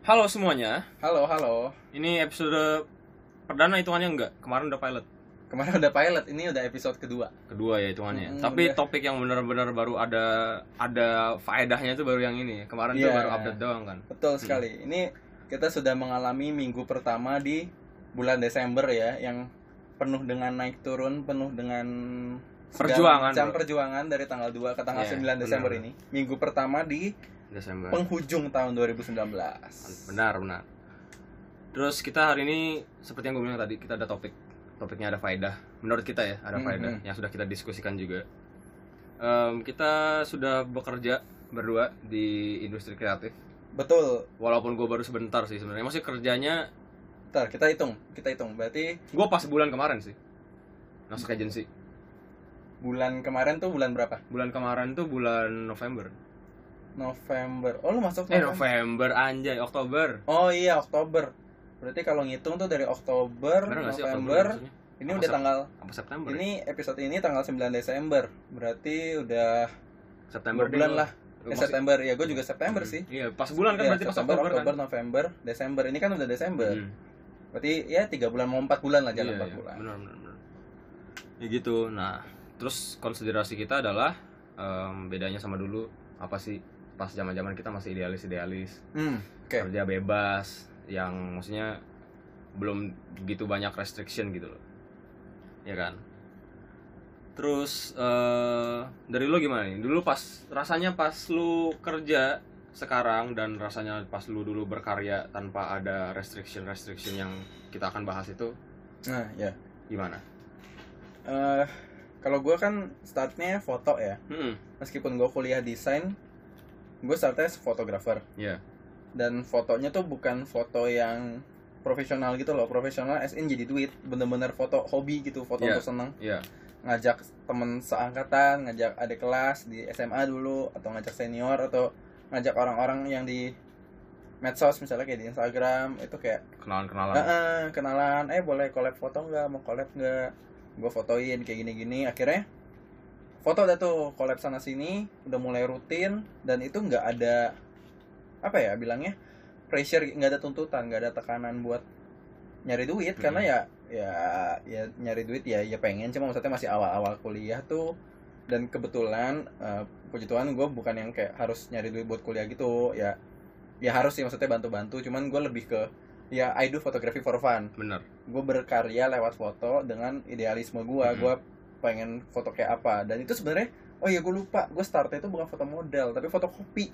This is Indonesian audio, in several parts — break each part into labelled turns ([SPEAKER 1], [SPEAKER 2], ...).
[SPEAKER 1] Halo semuanya,
[SPEAKER 2] Halo, halo.
[SPEAKER 1] ini episode perdana hitungannya enggak? Kemarin udah pilot,
[SPEAKER 2] Kemarin udah pilot, ini udah episode kedua.
[SPEAKER 1] kedua ya hitungannya.
[SPEAKER 2] Mm,
[SPEAKER 1] Tapi
[SPEAKER 2] udah.
[SPEAKER 1] topik yang benar-benar baru ada ada faedahnya itu baru yang ini. Kemarin tuh
[SPEAKER 2] Iya.
[SPEAKER 1] baru update doang kan.
[SPEAKER 2] Betul sekali. Ini kita sudah mengalami minggu pertama di bulan Desember ya, yang penuh dengan naik turun, penuh dengan segala
[SPEAKER 1] Perjuangan,
[SPEAKER 2] macam
[SPEAKER 1] bro.
[SPEAKER 2] perjuangan dari tanggal 2 ke tanggal
[SPEAKER 1] Iya,
[SPEAKER 2] 9 Desember
[SPEAKER 1] benar.
[SPEAKER 2] ini. Minggu pertama di
[SPEAKER 1] Desember.
[SPEAKER 2] penghujung tahun 2019.
[SPEAKER 1] Benar, benar. Terus kita hari ini seperti yang gue bilang tadi, kita ada topik. Topiknya ada faedah. Menurut kita ya, ada
[SPEAKER 2] Mm,
[SPEAKER 1] faedah
[SPEAKER 2] mm.
[SPEAKER 1] yang sudah kita diskusikan juga. Em, kita sudah bekerja berdua di industri kreatif.
[SPEAKER 2] Betul.
[SPEAKER 1] Walaupun gue baru sebentar sih sebenarnya. Masih kerjanya
[SPEAKER 2] Ntar kita hitung, kita hitung. Berarti
[SPEAKER 1] Gue pas bulan kemarin sih Masuk agency
[SPEAKER 2] bulan kemarin tuh bulan berapa?
[SPEAKER 1] Bulan kemarin tuh bulan November
[SPEAKER 2] November. Oh, lu masuk
[SPEAKER 1] Eh November anjay Oktober
[SPEAKER 2] Oh iya Oktober. Berarti kalau ngitung tuh dari Oktober,
[SPEAKER 1] Bener nggak sih Oktober
[SPEAKER 2] November,
[SPEAKER 1] maksudnya?
[SPEAKER 2] ini
[SPEAKER 1] Apa
[SPEAKER 2] udah
[SPEAKER 1] Sep-
[SPEAKER 2] tanggal
[SPEAKER 1] Apa September ya?
[SPEAKER 2] ini episode ini tanggal 9 Desember. Berarti udah
[SPEAKER 1] September
[SPEAKER 2] dua bulan
[SPEAKER 1] deh,
[SPEAKER 2] lah.
[SPEAKER 1] gua-
[SPEAKER 2] Eh,
[SPEAKER 1] gua masih-
[SPEAKER 2] September ya, gue juga September
[SPEAKER 1] Hmm.
[SPEAKER 2] sih.
[SPEAKER 1] Iya pas bulan kan
[SPEAKER 2] Iya,
[SPEAKER 1] berarti pas
[SPEAKER 2] September,
[SPEAKER 1] Oktober,
[SPEAKER 2] Oktober,
[SPEAKER 1] kan
[SPEAKER 2] November, Desember. Ini kan udah Desember.
[SPEAKER 1] Hmm.
[SPEAKER 2] Berarti ya 3 bulan mau 4 bulan lah jalan
[SPEAKER 1] Iya,
[SPEAKER 2] 4
[SPEAKER 1] iya.
[SPEAKER 2] bulan.
[SPEAKER 1] Bener bener bener Ya gitu Nah terus konsiderasi kita adalah em, Bedanya sama dulu Apa sih pas zaman zaman kita masih idealis-idealis
[SPEAKER 2] Hmm. Oke.
[SPEAKER 1] kerja bebas yang maksudnya belum begitu banyak restriction gitu loh ya kan terus eh, dari lo gimana nih dulu pas rasanya pas lu kerja sekarang dan rasanya pas lu dulu berkarya tanpa ada restriction restriction yang kita akan bahas itu
[SPEAKER 2] Nah, ya.
[SPEAKER 1] gimana
[SPEAKER 2] Eh, kalau gue kan startnya foto ya.
[SPEAKER 1] hmm
[SPEAKER 2] Meskipun gue kuliah desain, gue startnya fotografer.
[SPEAKER 1] ya
[SPEAKER 2] dan fotonya tuh bukan foto yang profesional gitu loh profesional as in jadi duit bener-bener foto hobi gitu foto
[SPEAKER 1] Iya.
[SPEAKER 2] untuk seneng
[SPEAKER 1] ya
[SPEAKER 2] ngajak temen seangkatan ngajak adik kelas di SMA dulu atau ngajak senior atau ngajak orang-orang yang di medsos misalnya kayak di Instagram itu kayak
[SPEAKER 1] kenalan kenalan
[SPEAKER 2] "Eh, eh, kenalan eh boleh collab foto nggak mau collab nggak gue fotoin kayak gini-gini akhirnya foto udah tuh collab sana sini udah mulai rutin dan itu nggak ada apa ya bilangnya pressure nggak ada tuntutan nggak ada tekanan buat nyari duit
[SPEAKER 1] Hmm.
[SPEAKER 2] karena ya ya ya nyari duit ya ya pengen cuma maksudnya masih awal-awal kuliah tuh dan kebetulan eh, puji Tuhan gue bukan yang kayak harus nyari duit buat kuliah gitu ya ya harus sih maksudnya bantu-bantu cuman gue lebih ke ya I do photography for fun
[SPEAKER 1] bener
[SPEAKER 2] gue berkarya lewat foto dengan idealisme gue
[SPEAKER 1] Mhm.
[SPEAKER 2] gue pengen foto kayak apa dan itu sebenarnya oh iya gue lupa gue startnya itu bukan foto model tapi foto kopi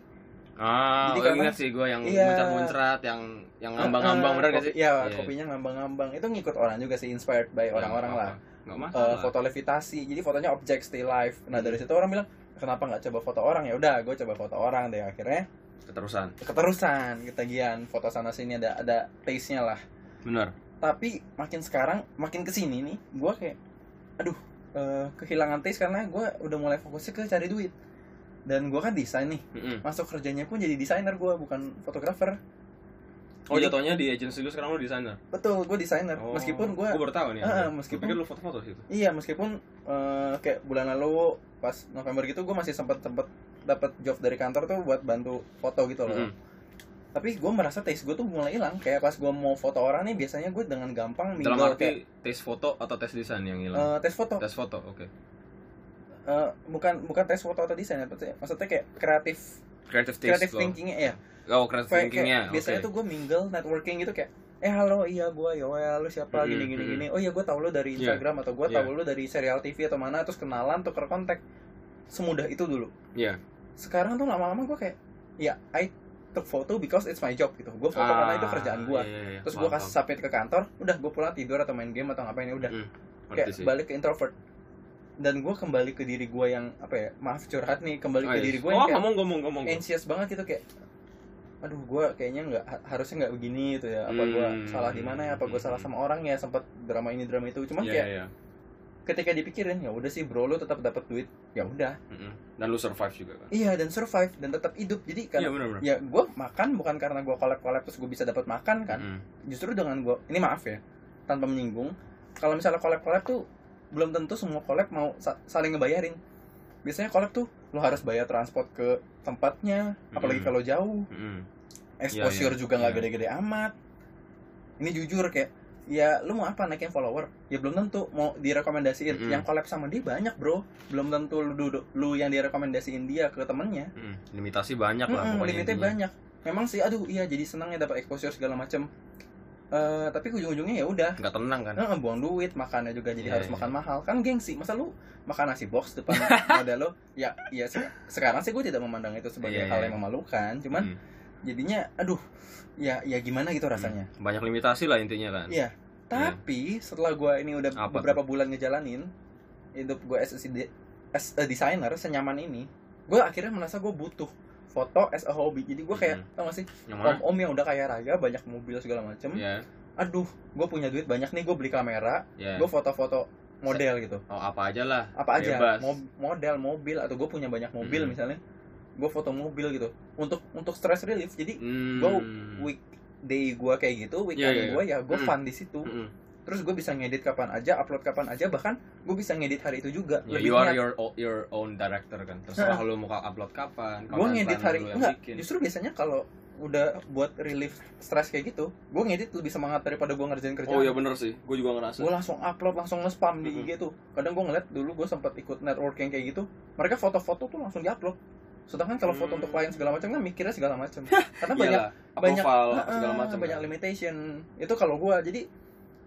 [SPEAKER 1] ah gue
[SPEAKER 2] Jadi karena-
[SPEAKER 1] ingat sih gue yang
[SPEAKER 2] Iya.
[SPEAKER 1] muncrat muncrat yang yang ngambang ngambang
[SPEAKER 2] Ah,
[SPEAKER 1] bener gak
[SPEAKER 2] kopi-
[SPEAKER 1] sih
[SPEAKER 2] iya
[SPEAKER 1] Iya.
[SPEAKER 2] kopinya ngambang-ngambang itu ngikut orang juga sih inspired by orang-orang
[SPEAKER 1] Apa?
[SPEAKER 2] lah
[SPEAKER 1] nggak
[SPEAKER 2] Eh,
[SPEAKER 1] masalah
[SPEAKER 2] foto levitasi jadi fotonya objek still life nah dari situ orang bilang kenapa nggak coba foto orang ya udah gue coba foto orang deh akhirnya
[SPEAKER 1] keterusan
[SPEAKER 2] keterusan ketagihan foto sana sini ada ada taste nya lah
[SPEAKER 1] bener
[SPEAKER 2] tapi makin sekarang makin kesini nih gue kayak aduh eh, kehilangan taste karena gue udah mulai fokusnya ke cari duit dan gue kan desain nih
[SPEAKER 1] Mm-mm.
[SPEAKER 2] masuk kerjanya pun jadi desainer gue bukan fotografer
[SPEAKER 1] Oh
[SPEAKER 2] Jadi-
[SPEAKER 1] jatuhnya di Oh. agency lu sekarang lu desainer.
[SPEAKER 2] betul gue desainer Eh, meskipun gue
[SPEAKER 1] gue baru tahu nih.
[SPEAKER 2] Ah,
[SPEAKER 1] anjay.
[SPEAKER 2] meskipun-
[SPEAKER 1] Gua pikir lu foto-foto gitu.
[SPEAKER 2] iya meskipun eh, kayak bulan lalu pas November gitu gue masih sempet sempet dapat job dari kantor tuh buat bantu foto gitu loh
[SPEAKER 1] Mm-mm.
[SPEAKER 2] tapi gue merasa taste gue tuh mulai hilang kayak pas gue mau foto orang nih biasanya gue dengan gampang
[SPEAKER 1] Dalam
[SPEAKER 2] mingle kayak
[SPEAKER 1] arti tes foto atau tes desain yang hilang?
[SPEAKER 2] eh, tes foto
[SPEAKER 1] tes foto, oke.
[SPEAKER 2] Eh, bukan bukan tes foto atau desain apa sih? maksudnya kayak kreatif
[SPEAKER 1] Kreatif Creative
[SPEAKER 2] kreatif
[SPEAKER 1] taste. lo.
[SPEAKER 2] thinkingnya ya
[SPEAKER 1] Oh, creative
[SPEAKER 2] kayak,
[SPEAKER 1] thinkingnya.
[SPEAKER 2] kayak biasanya tuh gue mingle networking gitu kayak eh halo iya gue Yoel lu siapa
[SPEAKER 1] Mm-mm,
[SPEAKER 2] gini gini
[SPEAKER 1] mm-mm.
[SPEAKER 2] gini oh iya gue tau lu dari
[SPEAKER 1] Iya.
[SPEAKER 2] Instagram atau gue
[SPEAKER 1] Iya.
[SPEAKER 2] tau lu dari serial TV atau mana terus kenalan tuker kontak semudah itu dulu
[SPEAKER 1] Iya.
[SPEAKER 2] sekarang tuh lama-lama gue kayak ya I took photo because it's my job gitu gue foto
[SPEAKER 1] Ah,
[SPEAKER 2] karena itu kerjaan gue
[SPEAKER 1] iya, iya, iya.
[SPEAKER 2] terus
[SPEAKER 1] Paham,
[SPEAKER 2] gue kasih submit ke kantor udah gue pulang tidur atau main game atau ngapain ya udah
[SPEAKER 1] paham. Mm, ngerti
[SPEAKER 2] kayak
[SPEAKER 1] sih.
[SPEAKER 2] balik ke introvert dan gue kembali ke diri gue yang apa ya maaf curhat nih kembali
[SPEAKER 1] Oh,
[SPEAKER 2] ke
[SPEAKER 1] iya.
[SPEAKER 2] diri gue
[SPEAKER 1] Oh,
[SPEAKER 2] yang kayak
[SPEAKER 1] ngomong ngomong ngomong.
[SPEAKER 2] anxious banget gitu kayak aduh gue kayaknya nggak ha- harusnya nggak begini gitu ya apa gue
[SPEAKER 1] Hmm.
[SPEAKER 2] salah di mana ya apa gue salah sama orang ya sempat drama ini drama itu cuman
[SPEAKER 1] Iya,
[SPEAKER 2] kayak
[SPEAKER 1] iya.
[SPEAKER 2] ketika dipikirin ya udah sih bro lu tetap dapat duit ya udah
[SPEAKER 1] Mm-mm. Dan lu survive juga kan.
[SPEAKER 2] iya dan survive dan tetap hidup jadi kan
[SPEAKER 1] Iya, benar benar.
[SPEAKER 2] ya gue makan bukan karena gue kolab kolab terus gue bisa dapat makan kan
[SPEAKER 1] Mm.
[SPEAKER 2] justru dengan gue ini maaf ya tanpa menyinggung kalau misalnya collab collab tuh belum tentu semua collab mau sa- saling ngebayarin biasanya collab tuh lo harus bayar transport ke tempatnya apalagi
[SPEAKER 1] Mm.
[SPEAKER 2] kalau jauh
[SPEAKER 1] Mm.
[SPEAKER 2] exposure
[SPEAKER 1] Iya, iya.
[SPEAKER 2] juga nggak
[SPEAKER 1] Iya.
[SPEAKER 2] gede-gede amat ini jujur kayak ya lu mau apa naikin follower ya belum tentu mau direkomendasiin
[SPEAKER 1] Mm-mm.
[SPEAKER 2] yang collab sama dia banyak bro belum tentu lu duduk lu yang direkomendasiin dia ke temennya
[SPEAKER 1] Mm, limitasi banyak lah
[SPEAKER 2] Mm-mm,
[SPEAKER 1] pokoknya
[SPEAKER 2] limitnya
[SPEAKER 1] intinya.
[SPEAKER 2] banyak memang sih aduh iya jadi senang ya dapat exposure segala macem Eh, tapi ujung-ujungnya ya udah
[SPEAKER 1] nggak tenang kan
[SPEAKER 2] Heeh, buang duit, makannya juga
[SPEAKER 1] Iya,
[SPEAKER 2] jadi harus
[SPEAKER 1] iya.
[SPEAKER 2] makan mahal. Kan gengsi. Masa lu makan nasi box depan model lo? Ya, ya se- sekarang sih gue tidak memandang itu sebagai
[SPEAKER 1] Iya,
[SPEAKER 2] hal
[SPEAKER 1] iya.
[SPEAKER 2] yang memalukan, cuman
[SPEAKER 1] Mm,
[SPEAKER 2] jadinya aduh, ya ya gimana gitu rasanya.
[SPEAKER 1] banyak limitasi lah intinya kan
[SPEAKER 2] Iya. Tapi setelah gua ini udah
[SPEAKER 1] Apa
[SPEAKER 2] beberapa bulan ngejalanin hidup gue as, a de- as a designer senyaman ini, gue akhirnya merasa gue butuh foto as a hobby. Jadi gue kayak
[SPEAKER 1] Mm.
[SPEAKER 2] tau gak sih,
[SPEAKER 1] yang mana
[SPEAKER 2] om-om yang udah kaya raya, banyak mobil segala macem.
[SPEAKER 1] ya
[SPEAKER 2] Aduh, gue punya duit banyak nih, gue beli kamera,
[SPEAKER 1] ya
[SPEAKER 2] gue foto-foto model gitu
[SPEAKER 1] oh apa aja lah
[SPEAKER 2] apa aja
[SPEAKER 1] Bebas. Hmm.
[SPEAKER 2] mo- model mobil atau gue punya banyak mobil
[SPEAKER 1] Mm-mm.
[SPEAKER 2] misalnya gue foto mobil gitu untuk untuk stress relief jadi
[SPEAKER 1] Mm.
[SPEAKER 2] Gua weekday gue kayak gitu weekend
[SPEAKER 1] Iya, iya,
[SPEAKER 2] gue ya gue
[SPEAKER 1] Mm.
[SPEAKER 2] fun di situ
[SPEAKER 1] Mm-mm.
[SPEAKER 2] terus gue bisa ngedit kapan aja upload kapan aja bahkan gue bisa ngedit hari itu juga
[SPEAKER 1] Ya, you
[SPEAKER 2] lebih
[SPEAKER 1] are
[SPEAKER 2] niat.
[SPEAKER 1] your o- your own director kan. Terserah lu mau upload kapan,
[SPEAKER 2] gue ngedit hari
[SPEAKER 1] lu yang
[SPEAKER 2] enggak
[SPEAKER 1] bikin.
[SPEAKER 2] justru biasanya kalau udah buat relief stress kayak gitu gue ngedit lebih semangat daripada gue ngerjain kerjaan
[SPEAKER 1] Oh iya bener sih, gue juga ngerasa.
[SPEAKER 2] gue langsung upload langsung nge-spam di
[SPEAKER 1] Mhm.
[SPEAKER 2] IG tuh kadang gue ngeliat dulu gue sempat ikut networking kayak gitu mereka foto-foto tuh langsung diupload sedangkan kalau foto
[SPEAKER 1] Hmm.
[SPEAKER 2] untuk klien segala macam kan mikirnya segala macam karena banyak
[SPEAKER 1] Iyalah,
[SPEAKER 2] banyak
[SPEAKER 1] approval,
[SPEAKER 2] Heeh,
[SPEAKER 1] segala macam. ya.
[SPEAKER 2] banyak limitation itu kalau gue jadi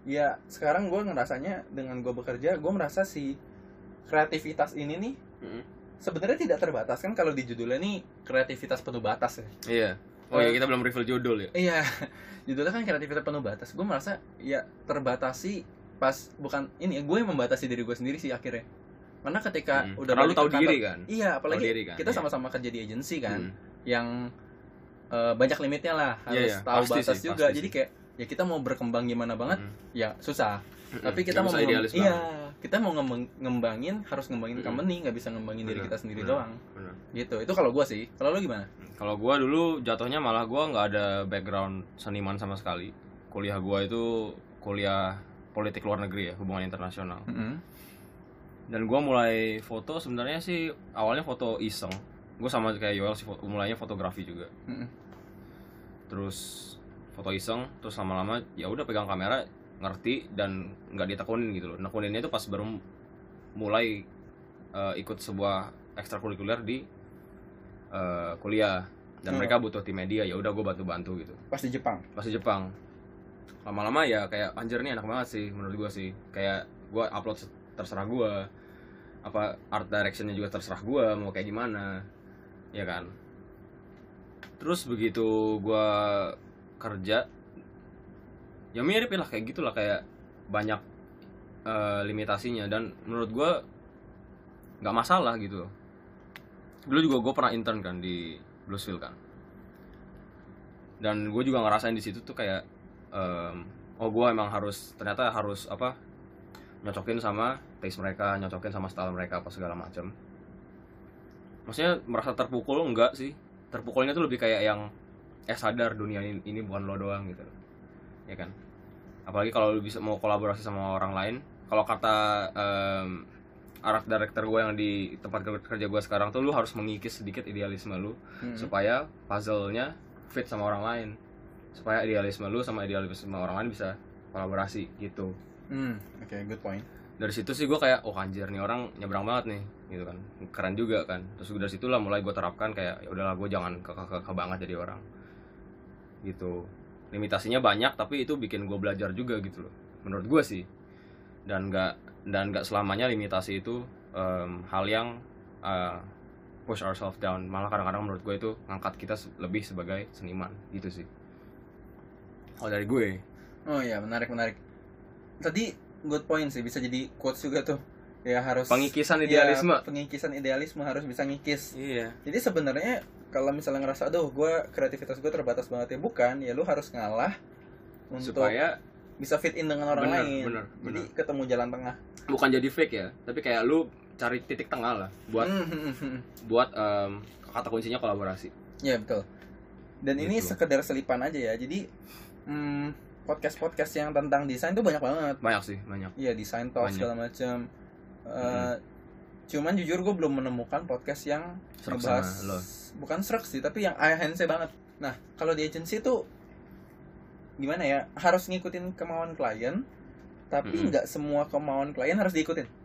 [SPEAKER 2] ya sekarang gue ngerasanya dengan gue bekerja gue merasa si kreativitas ini nih
[SPEAKER 1] Mhm.
[SPEAKER 2] sebenarnya tidak terbatas kan kalau di judulnya nih kreativitas penuh batas ya
[SPEAKER 1] Iya. Oh iya, kita belum reveal judul ya.
[SPEAKER 2] Iya, judulnya kan kreativitas penuh batas. Gue merasa ya terbatasi pas bukan ini gue yang membatasi diri gue sendiri sih akhirnya. Karena ketika
[SPEAKER 1] Mm.
[SPEAKER 2] udah
[SPEAKER 1] Karena lu
[SPEAKER 2] balik
[SPEAKER 1] tahu
[SPEAKER 2] ke kantor-
[SPEAKER 1] diri kan.
[SPEAKER 2] Iya, apalagi
[SPEAKER 1] Tahu diri kan,
[SPEAKER 2] kita
[SPEAKER 1] iya.
[SPEAKER 2] sama-sama kerja di agensi kan,
[SPEAKER 1] Mm.
[SPEAKER 2] yang eh, banyak limitnya lah, harus
[SPEAKER 1] Iya, iya.
[SPEAKER 2] tahu
[SPEAKER 1] Pasti
[SPEAKER 2] batas
[SPEAKER 1] sih,
[SPEAKER 2] juga.
[SPEAKER 1] pasti
[SPEAKER 2] Jadi
[SPEAKER 1] sih.
[SPEAKER 2] kayak ya kita mau berkembang gimana banget,
[SPEAKER 1] Mm.
[SPEAKER 2] ya susah.
[SPEAKER 1] Mm-mm.
[SPEAKER 2] Tapi
[SPEAKER 1] Nggak
[SPEAKER 2] kita
[SPEAKER 1] Hmm,
[SPEAKER 2] mau
[SPEAKER 1] bisa
[SPEAKER 2] ngem-
[SPEAKER 1] idealis
[SPEAKER 2] iya,
[SPEAKER 1] banget.
[SPEAKER 2] kita mau ngembang- ngembangin harus ngembangin
[SPEAKER 1] Mm-mm.
[SPEAKER 2] company, nggak bisa ngembangin diri
[SPEAKER 1] Bener,
[SPEAKER 2] kita sendiri
[SPEAKER 1] bener,
[SPEAKER 2] doang.
[SPEAKER 1] bener.
[SPEAKER 2] Gitu. Itu kalau gue sih. Kalau lu gimana?
[SPEAKER 1] Kalau gua dulu jatuhnya malah gua nggak ada background seniman sama sekali. Kuliah gua itu kuliah politik luar negeri ya, hubungan internasional. dan gua mulai foto sebenarnya sih awalnya foto iseng gue sama kayak Yoel sih fo- mulainya fotografi juga
[SPEAKER 2] Mm-mm.
[SPEAKER 1] terus foto iseng terus lama-lama ya udah pegang kamera ngerti dan nggak ditekunin gitu loh nekuninnya itu pas baru m- mulai eh, ikut sebuah ekstrakurikuler di eh, kuliah dan
[SPEAKER 2] Hmm.
[SPEAKER 1] mereka butuh tim media ya udah gue bantu-bantu gitu
[SPEAKER 2] Pas di Jepang.
[SPEAKER 1] pas di Jepang lama-lama ya kayak anjir nih enak banget sih menurut gua sih kayak gua upload se- terserah gua apa art directionnya juga terserah gua mau kayak gimana ya kan terus begitu gua kerja ya mirip lah kayak gitulah kayak banyak eh, limitasinya dan menurut gua nggak masalah gitu loh. dulu juga gue pernah intern kan di Bluesville kan dan gue juga ngerasain di situ tuh kayak em, oh gue emang harus ternyata harus apa nyocokin sama taste mereka nyocokin sama style mereka apa segala macam maksudnya merasa terpukul enggak sih terpukulnya tuh lebih kayak yang eh sadar dunia ini, ini bukan lo doang gitu ya kan apalagi kalau lu bisa mau kolaborasi sama orang lain kalau kata em art director gue yang di tempat ker- kerja gue sekarang tuh lu harus mengikis sedikit idealisme lu
[SPEAKER 2] Mm-mm.
[SPEAKER 1] supaya puzzle-nya fit sama orang lain supaya idealisme lu sama idealisme orang lain bisa kolaborasi gitu
[SPEAKER 2] Hmm, oke, good point.
[SPEAKER 1] dari situ sih gue kayak oh anjir nih orang nyebrang banget nih gitu kan keren juga kan terus dari situlah mulai gue terapkan kayak ya udahlah gue jangan kekeh kekeh banget jadi orang gitu limitasinya banyak tapi itu bikin gue belajar juga gitu loh menurut gue sih dan nggak dan nggak selamanya limitasi itu em, hal yang eh, push ourselves down malah kadang-kadang menurut gue itu ngangkat kita se- lebih sebagai seniman gitu sih kalau dari gue
[SPEAKER 2] Oh iya, menarik menarik. Tadi good point sih, bisa jadi quotes juga tuh. Ya harus
[SPEAKER 1] pengikisan
[SPEAKER 2] ya,
[SPEAKER 1] idealisme
[SPEAKER 2] pengikisan idealisme harus bisa ngikis.
[SPEAKER 1] iya
[SPEAKER 2] Jadi sebenarnya kalau misalnya ngerasa aduh gua kreativitas gue terbatas banget ya bukan, ya lu harus ngalah untuk
[SPEAKER 1] supaya
[SPEAKER 2] bisa fit in dengan orang
[SPEAKER 1] Bener,
[SPEAKER 2] lain.
[SPEAKER 1] bener,
[SPEAKER 2] jadi ketemu jalan tengah.
[SPEAKER 1] bukan jadi fake ya tapi kayak lu cari titik tengah lah
[SPEAKER 2] Hmm.
[SPEAKER 1] buat buat em, kata kuncinya kolaborasi
[SPEAKER 2] Ya betul. Dan ini
[SPEAKER 1] Gitu.
[SPEAKER 2] sekedar selipan aja ya. Jadi podcast podcast yang tentang desain tuh banyak banget.
[SPEAKER 1] banyak sih banyak
[SPEAKER 2] Iya desain talk
[SPEAKER 1] Banyak.
[SPEAKER 2] segala macam. Eh, Cuman jujur gue belum menemukan podcast yang
[SPEAKER 1] Serap
[SPEAKER 2] ngebahas
[SPEAKER 1] sama lo.
[SPEAKER 2] bukan serak sih tapi yang eye hands banget. Nah, kalau di agency tuh gimana ya? Harus ngikutin kemauan klien, tapi
[SPEAKER 1] Mm-mm.
[SPEAKER 2] nggak semua kemauan klien harus diikutin.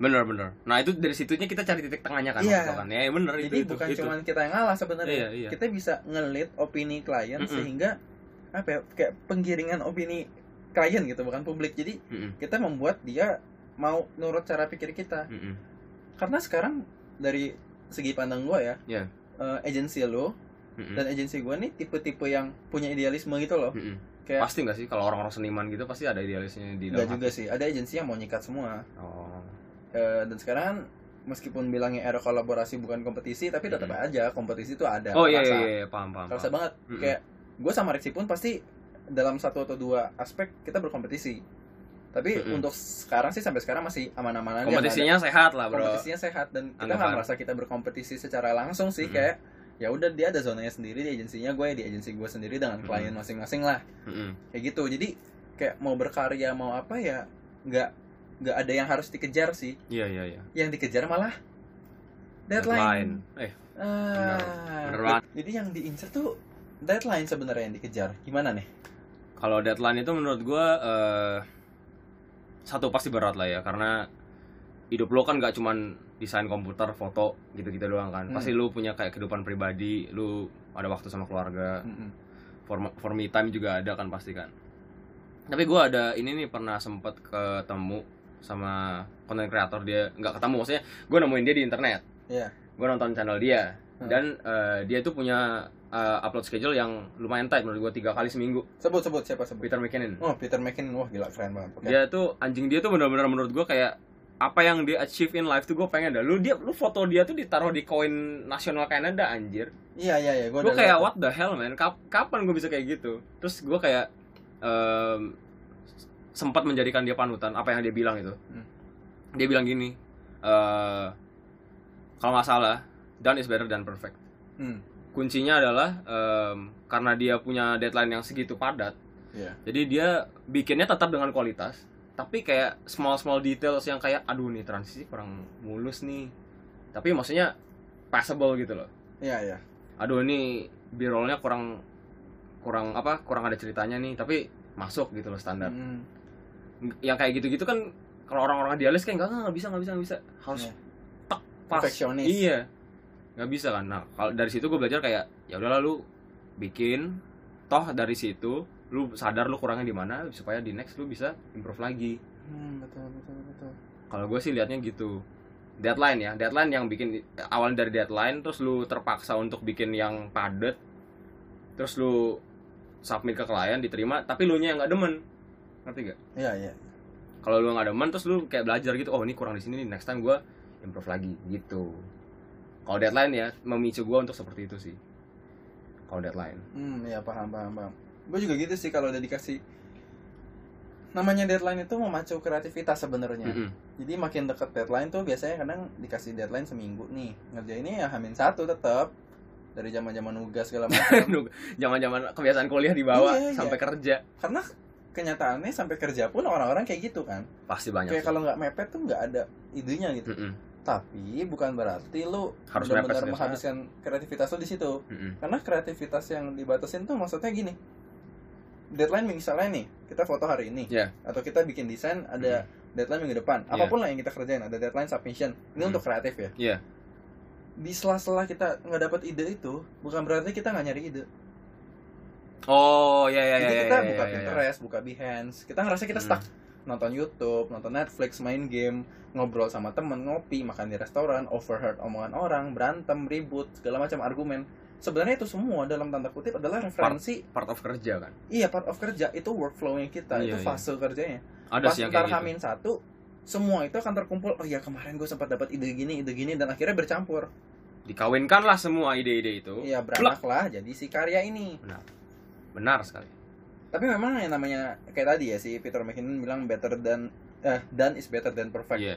[SPEAKER 1] bener bener nah itu dari situnya kita cari titik tengahnya kan
[SPEAKER 2] Iya.
[SPEAKER 1] waktu itu kan ya bener
[SPEAKER 2] Jadi
[SPEAKER 1] itu itu
[SPEAKER 2] bukan
[SPEAKER 1] itu.
[SPEAKER 2] cuman kita yang ngalah sebenarnya.
[SPEAKER 1] iya iya
[SPEAKER 2] Kita bisa ngelit opini klien
[SPEAKER 1] Mm-mm.
[SPEAKER 2] sehingga apa ya? Kayak penggiringan opini klien gitu, bukan publik. Jadi
[SPEAKER 1] Mm-mm,
[SPEAKER 2] kita membuat dia mau nurut cara pikir kita.
[SPEAKER 1] mm-mm.
[SPEAKER 2] Karena sekarang dari segi pandang gue ya,
[SPEAKER 1] Iya.
[SPEAKER 2] eh, agensi lo
[SPEAKER 1] Hmm. Mm-mm,
[SPEAKER 2] dan agensi gue nih tipe-tipe yang punya idealisme gitu loh.
[SPEAKER 1] mm-mm.
[SPEAKER 2] Kayak-
[SPEAKER 1] pasti nggak sih kalau orang-orang seniman gitu pasti ada idealisnya di
[SPEAKER 2] Enggak
[SPEAKER 1] dalam
[SPEAKER 2] juga sih, ada agensi yang mau nyikat semua.
[SPEAKER 1] hati. oh
[SPEAKER 2] Eh, dan sekarang kan, meskipun bilangnya era kolaborasi bukan kompetisi tapi tetap
[SPEAKER 1] Mm-mm.
[SPEAKER 2] aja kompetisi itu ada
[SPEAKER 1] Hmm. oh iya
[SPEAKER 2] Kerasa.
[SPEAKER 1] iya, iya paham paham,
[SPEAKER 2] Kerasa
[SPEAKER 1] paham.
[SPEAKER 2] banget
[SPEAKER 1] Mm-mm.
[SPEAKER 2] kayak gue sama Rexi pun pasti dalam satu atau dua aspek kita berkompetisi tapi
[SPEAKER 1] Mm-mm.
[SPEAKER 2] untuk sekarang sih sampai sekarang masih aman-aman aja
[SPEAKER 1] kompetisinya sehat lah
[SPEAKER 2] Nggak ada-
[SPEAKER 1] bro
[SPEAKER 2] kompetisinya sehat dan kita nggak
[SPEAKER 1] Anggapan.
[SPEAKER 2] merasa kita berkompetisi secara langsung sih
[SPEAKER 1] Mm-mm.
[SPEAKER 2] kayak ya udah dia ada zonanya sendiri di agensinya gue di agensi gue sendiri dengan
[SPEAKER 1] Mm-mm.
[SPEAKER 2] klien masing-masing lah
[SPEAKER 1] Mm-mm.
[SPEAKER 2] kayak gitu jadi kayak mau berkarya mau apa ya nggak nggak ada yang harus dikejar sih
[SPEAKER 1] iya iya iya
[SPEAKER 2] yang dikejar malah
[SPEAKER 1] Deadline.
[SPEAKER 2] deadline,
[SPEAKER 1] eh
[SPEAKER 2] Ah.
[SPEAKER 1] Bener banget.
[SPEAKER 2] jadi yang diincer tuh deadline sebenarnya yang dikejar gimana nih
[SPEAKER 1] kalau deadline itu menurut gua eh, satu pasti berat lah ya karena hidup lo kan gak cuman desain komputer foto gitu-gitu doang kan
[SPEAKER 2] Hmm.
[SPEAKER 1] pasti lo punya kayak kehidupan pribadi lo ada waktu sama keluarga for, for me time juga ada kan pasti kan tapi gua ada ini nih pernah sempat ketemu sama konten kreator dia nggak ketemu maksudnya gua nemuin dia di internet
[SPEAKER 2] Iya.
[SPEAKER 1] Gua nonton channel dia
[SPEAKER 2] Hmm.
[SPEAKER 1] dan eh, dia tuh punya eh, upload schedule yang lumayan tight menurut gua tiga kali seminggu
[SPEAKER 2] sebut sebut siapa sebut
[SPEAKER 1] Peter McKinnon
[SPEAKER 2] oh Peter McKinnon wah gila keren banget Oke.
[SPEAKER 1] dia tuh anjing dia tuh benar-benar menurut gua kayak apa yang dia achieve in life tuh gue pengen dah lu dia lu foto dia tuh ditaruh di koin nasional Kanada anjir
[SPEAKER 2] iya iya iya gue
[SPEAKER 1] gue kayak what the hell man Kap- kapan gue bisa kayak gitu terus gue kayak em, sempat menjadikan dia panutan apa yang dia bilang itu
[SPEAKER 2] Hmm.
[SPEAKER 1] dia bilang gini eh, kalau nggak salah done is better than perfect
[SPEAKER 2] hmm.
[SPEAKER 1] kuncinya adalah em, karena dia punya deadline yang segitu padat
[SPEAKER 2] Iya.
[SPEAKER 1] jadi dia bikinnya tetap dengan kualitas tapi kayak small small details yang kayak aduh nih transisi kurang mulus nih tapi maksudnya passable gitu loh
[SPEAKER 2] iya iya
[SPEAKER 1] aduh ini b-rollnya kurang kurang apa kurang ada ceritanya nih tapi masuk gitu loh standar
[SPEAKER 2] Hmm.
[SPEAKER 1] yang kayak gitu-gitu kan kalau orang-orang idealis kayak nggak nggak, nggak bisa nggak bisa nggak bisa harus
[SPEAKER 2] Iya.
[SPEAKER 1] tek pas
[SPEAKER 2] perfeksionis
[SPEAKER 1] iya nggak bisa kan nah kalau dari situ gue belajar kayak ya udahlah lu bikin toh dari situ lu sadar lu kurangnya di mana supaya di next lu bisa improve lagi
[SPEAKER 2] Hmm, betul betul betul
[SPEAKER 1] kalau gue sih liatnya gitu deadline ya deadline yang bikin awal dari deadline terus lu terpaksa untuk bikin yang padet terus lu submit ke klien diterima tapi lu nya yang nggak demen ngerti gak
[SPEAKER 2] iya iya
[SPEAKER 1] kalau lu nggak demen terus lu kayak belajar gitu oh ini kurang di sini nih next time gue improve lagi gitu kalau deadline ya memicu gue untuk seperti itu sih kalau deadline
[SPEAKER 2] Hmm, ya paham paham paham. Gue juga gitu sih kalau udah dikasih namanya deadline itu memacu kreativitas sebenarnya.
[SPEAKER 1] Mm-mm.
[SPEAKER 2] Jadi makin deket deadline tuh biasanya kadang dikasih deadline seminggu nih. Ngerjainnya ya hamin satu tetap dari zaman zaman nugas segala macam.
[SPEAKER 1] Aduh, jangan-jangan kebiasaan kuliah dibawa
[SPEAKER 2] Iya, iya.
[SPEAKER 1] sampai kerja
[SPEAKER 2] Karena kenyataannya sampai kerja pun orang-orang kayak gitu kan.
[SPEAKER 1] pasti banyak
[SPEAKER 2] Kayak
[SPEAKER 1] Iya sih.
[SPEAKER 2] kalau nggak mepet tuh nggak ada idenya gitu.
[SPEAKER 1] Mm-mm.
[SPEAKER 2] Tapi bukan berarti lu
[SPEAKER 1] Harus mepet
[SPEAKER 2] benar-benar
[SPEAKER 1] setiap saat.
[SPEAKER 2] menghabiskan kreativitas lu di situ.
[SPEAKER 1] Mm-mm.
[SPEAKER 2] karena kreativitas yang dibatasin tuh maksudnya gini deadline misalnya nih kita foto hari ini
[SPEAKER 1] Iya.
[SPEAKER 2] atau kita bikin desain ada
[SPEAKER 1] Hmm.
[SPEAKER 2] deadline minggu depan
[SPEAKER 1] Iya.
[SPEAKER 2] apapun lah yang kita kerjain ada deadline submission ini
[SPEAKER 1] Hmm.
[SPEAKER 2] untuk kreatif ya
[SPEAKER 1] Iya.
[SPEAKER 2] di sela-sela kita nggak dapat ide itu bukan berarti kita nggak nyari ide
[SPEAKER 1] oh ya ya ya
[SPEAKER 2] jadi
[SPEAKER 1] ya,
[SPEAKER 2] kita
[SPEAKER 1] ya,
[SPEAKER 2] buka
[SPEAKER 1] ya, ya.
[SPEAKER 2] Pinterest buka Behance kita ngerasa kita
[SPEAKER 1] Hmm.
[SPEAKER 2] stuck nonton YouTube nonton Netflix main game ngobrol sama temen ngopi makan di restoran overheard omongan orang berantem ribut segala macam argumen sebenarnya itu semua dalam tanda kutip adalah referensi
[SPEAKER 1] part of kerja kan
[SPEAKER 2] Iya part of kerja itu workflownya kita
[SPEAKER 1] Iya,
[SPEAKER 2] itu
[SPEAKER 1] iya.
[SPEAKER 2] fase kerjanya.
[SPEAKER 1] ada
[SPEAKER 2] Pas
[SPEAKER 1] sih yang
[SPEAKER 2] ntar
[SPEAKER 1] kayak gitu
[SPEAKER 2] hamin satu semua itu akan terkumpul. Oh ya kemarin gue sempat dapat ide gini ide gini dan akhirnya bercampur.
[SPEAKER 1] dikawinkanlah semua ide-ide itu
[SPEAKER 2] Iya beranaklah jadi si karya ini.
[SPEAKER 1] benar sekali
[SPEAKER 2] Tapi memang yang namanya kayak tadi ya si Peter McKinnon bilang better than eh done is better than perfect.
[SPEAKER 1] iya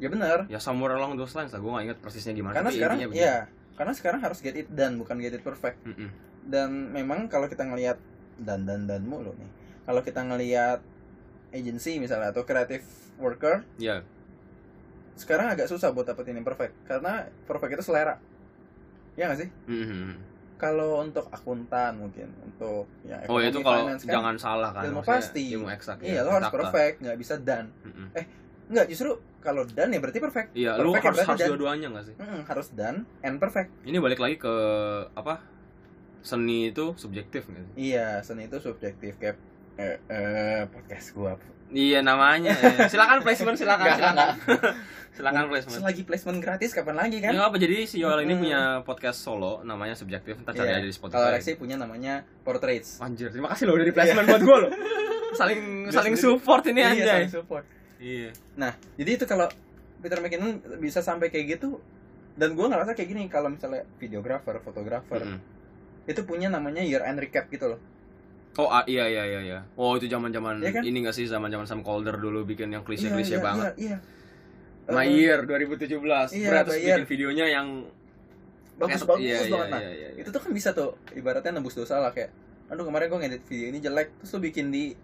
[SPEAKER 2] Ya benar.
[SPEAKER 1] ya somewhere along those lines lah gue gak inget persisnya gimana
[SPEAKER 2] Karena
[SPEAKER 1] Nah, tapi
[SPEAKER 2] sekarang
[SPEAKER 1] intinya begitu.
[SPEAKER 2] ya karena sekarang harus get it done bukan get it perfect.
[SPEAKER 1] Mm-mm.
[SPEAKER 2] dan memang kalau kita ngelihat dan dan dan mulu nih kalau kita ngelihat agency misalnya atau creative worker
[SPEAKER 1] Iya.
[SPEAKER 2] sekarang agak susah buat dapetin yang perfect karena perfect itu selera ya nggak sih
[SPEAKER 1] Mm-mm.
[SPEAKER 2] kalau untuk akuntan mungkin untuk ya
[SPEAKER 1] Oh itu
[SPEAKER 2] ekonomi,
[SPEAKER 1] kalau
[SPEAKER 2] finance kan,
[SPEAKER 1] jangan salah kan.
[SPEAKER 2] ilmu
[SPEAKER 1] maksudnya
[SPEAKER 2] pasti.
[SPEAKER 1] Ilmu eksak.
[SPEAKER 2] iya
[SPEAKER 1] ya,
[SPEAKER 2] lo
[SPEAKER 1] eksak
[SPEAKER 2] harus
[SPEAKER 1] lah.
[SPEAKER 2] perfect nggak bisa dan
[SPEAKER 1] Mm-mm.
[SPEAKER 2] nggak justru kalau dan ya berarti perfect
[SPEAKER 1] Iya, lu
[SPEAKER 2] Perfect
[SPEAKER 1] harus
[SPEAKER 2] berarti kan?
[SPEAKER 1] harus
[SPEAKER 2] dan-
[SPEAKER 1] dua-duanya nggak sih?
[SPEAKER 2] Mm-mm, harus dan and perfect
[SPEAKER 1] Ini balik lagi ke apa? Seni itu subjektif nggak sih?
[SPEAKER 2] iya seni itu subjektif kayak eh, eh, podcast gua
[SPEAKER 1] Iya namanya. eh. Silakan placement, silakan,
[SPEAKER 2] Nggak,
[SPEAKER 1] silakan. silakan placement. Iya,
[SPEAKER 2] selagi placement gratis kapan lagi
[SPEAKER 1] Ini
[SPEAKER 2] kan
[SPEAKER 1] Ya apa jadi si Yoel ini
[SPEAKER 2] Mm-mm.
[SPEAKER 1] punya podcast solo namanya subjektif entar cari
[SPEAKER 2] Iya.
[SPEAKER 1] aja di
[SPEAKER 2] kalau
[SPEAKER 1] Spotify.
[SPEAKER 2] Rexy punya namanya portraits
[SPEAKER 1] Anjir, terima kasih loh udah di placement
[SPEAKER 2] Iya.
[SPEAKER 1] buat gua loh. Saling
[SPEAKER 2] Dia
[SPEAKER 1] saling
[SPEAKER 2] sendiri.
[SPEAKER 1] support ini
[SPEAKER 2] Iya,
[SPEAKER 1] anjay.
[SPEAKER 2] saling support
[SPEAKER 1] Iya.
[SPEAKER 2] jadi itu kalau Peter McKinnon bisa sampai kayak gitu dan gua ngerasa kayak gini kalau misalnya videographer fotografer
[SPEAKER 1] Mm-mm. Hmm.
[SPEAKER 2] itu punya namanya year end recap gitu loh
[SPEAKER 1] Oh ah, iya iya iya iya. Oh itu zaman-zaman
[SPEAKER 2] Iya kan?
[SPEAKER 1] ini enggak sih zaman-zaman Sam Calder dulu bikin yang klise-klise
[SPEAKER 2] Iya, iya,
[SPEAKER 1] banget.
[SPEAKER 2] iya, iya.
[SPEAKER 1] My
[SPEAKER 2] Eh,
[SPEAKER 1] Year 2017.
[SPEAKER 2] Iya,
[SPEAKER 1] Berat terus
[SPEAKER 2] My Year.
[SPEAKER 1] bikin videonya yang
[SPEAKER 2] bagus
[SPEAKER 1] Iya,
[SPEAKER 2] bagus
[SPEAKER 1] iya,
[SPEAKER 2] banget nah
[SPEAKER 1] iya, iya, iya.
[SPEAKER 2] itu tuh kan bisa tuh ibaratnya nembus dosa lah kayak aduh kemarin gue ngedit video ini jelek terus lu bikin di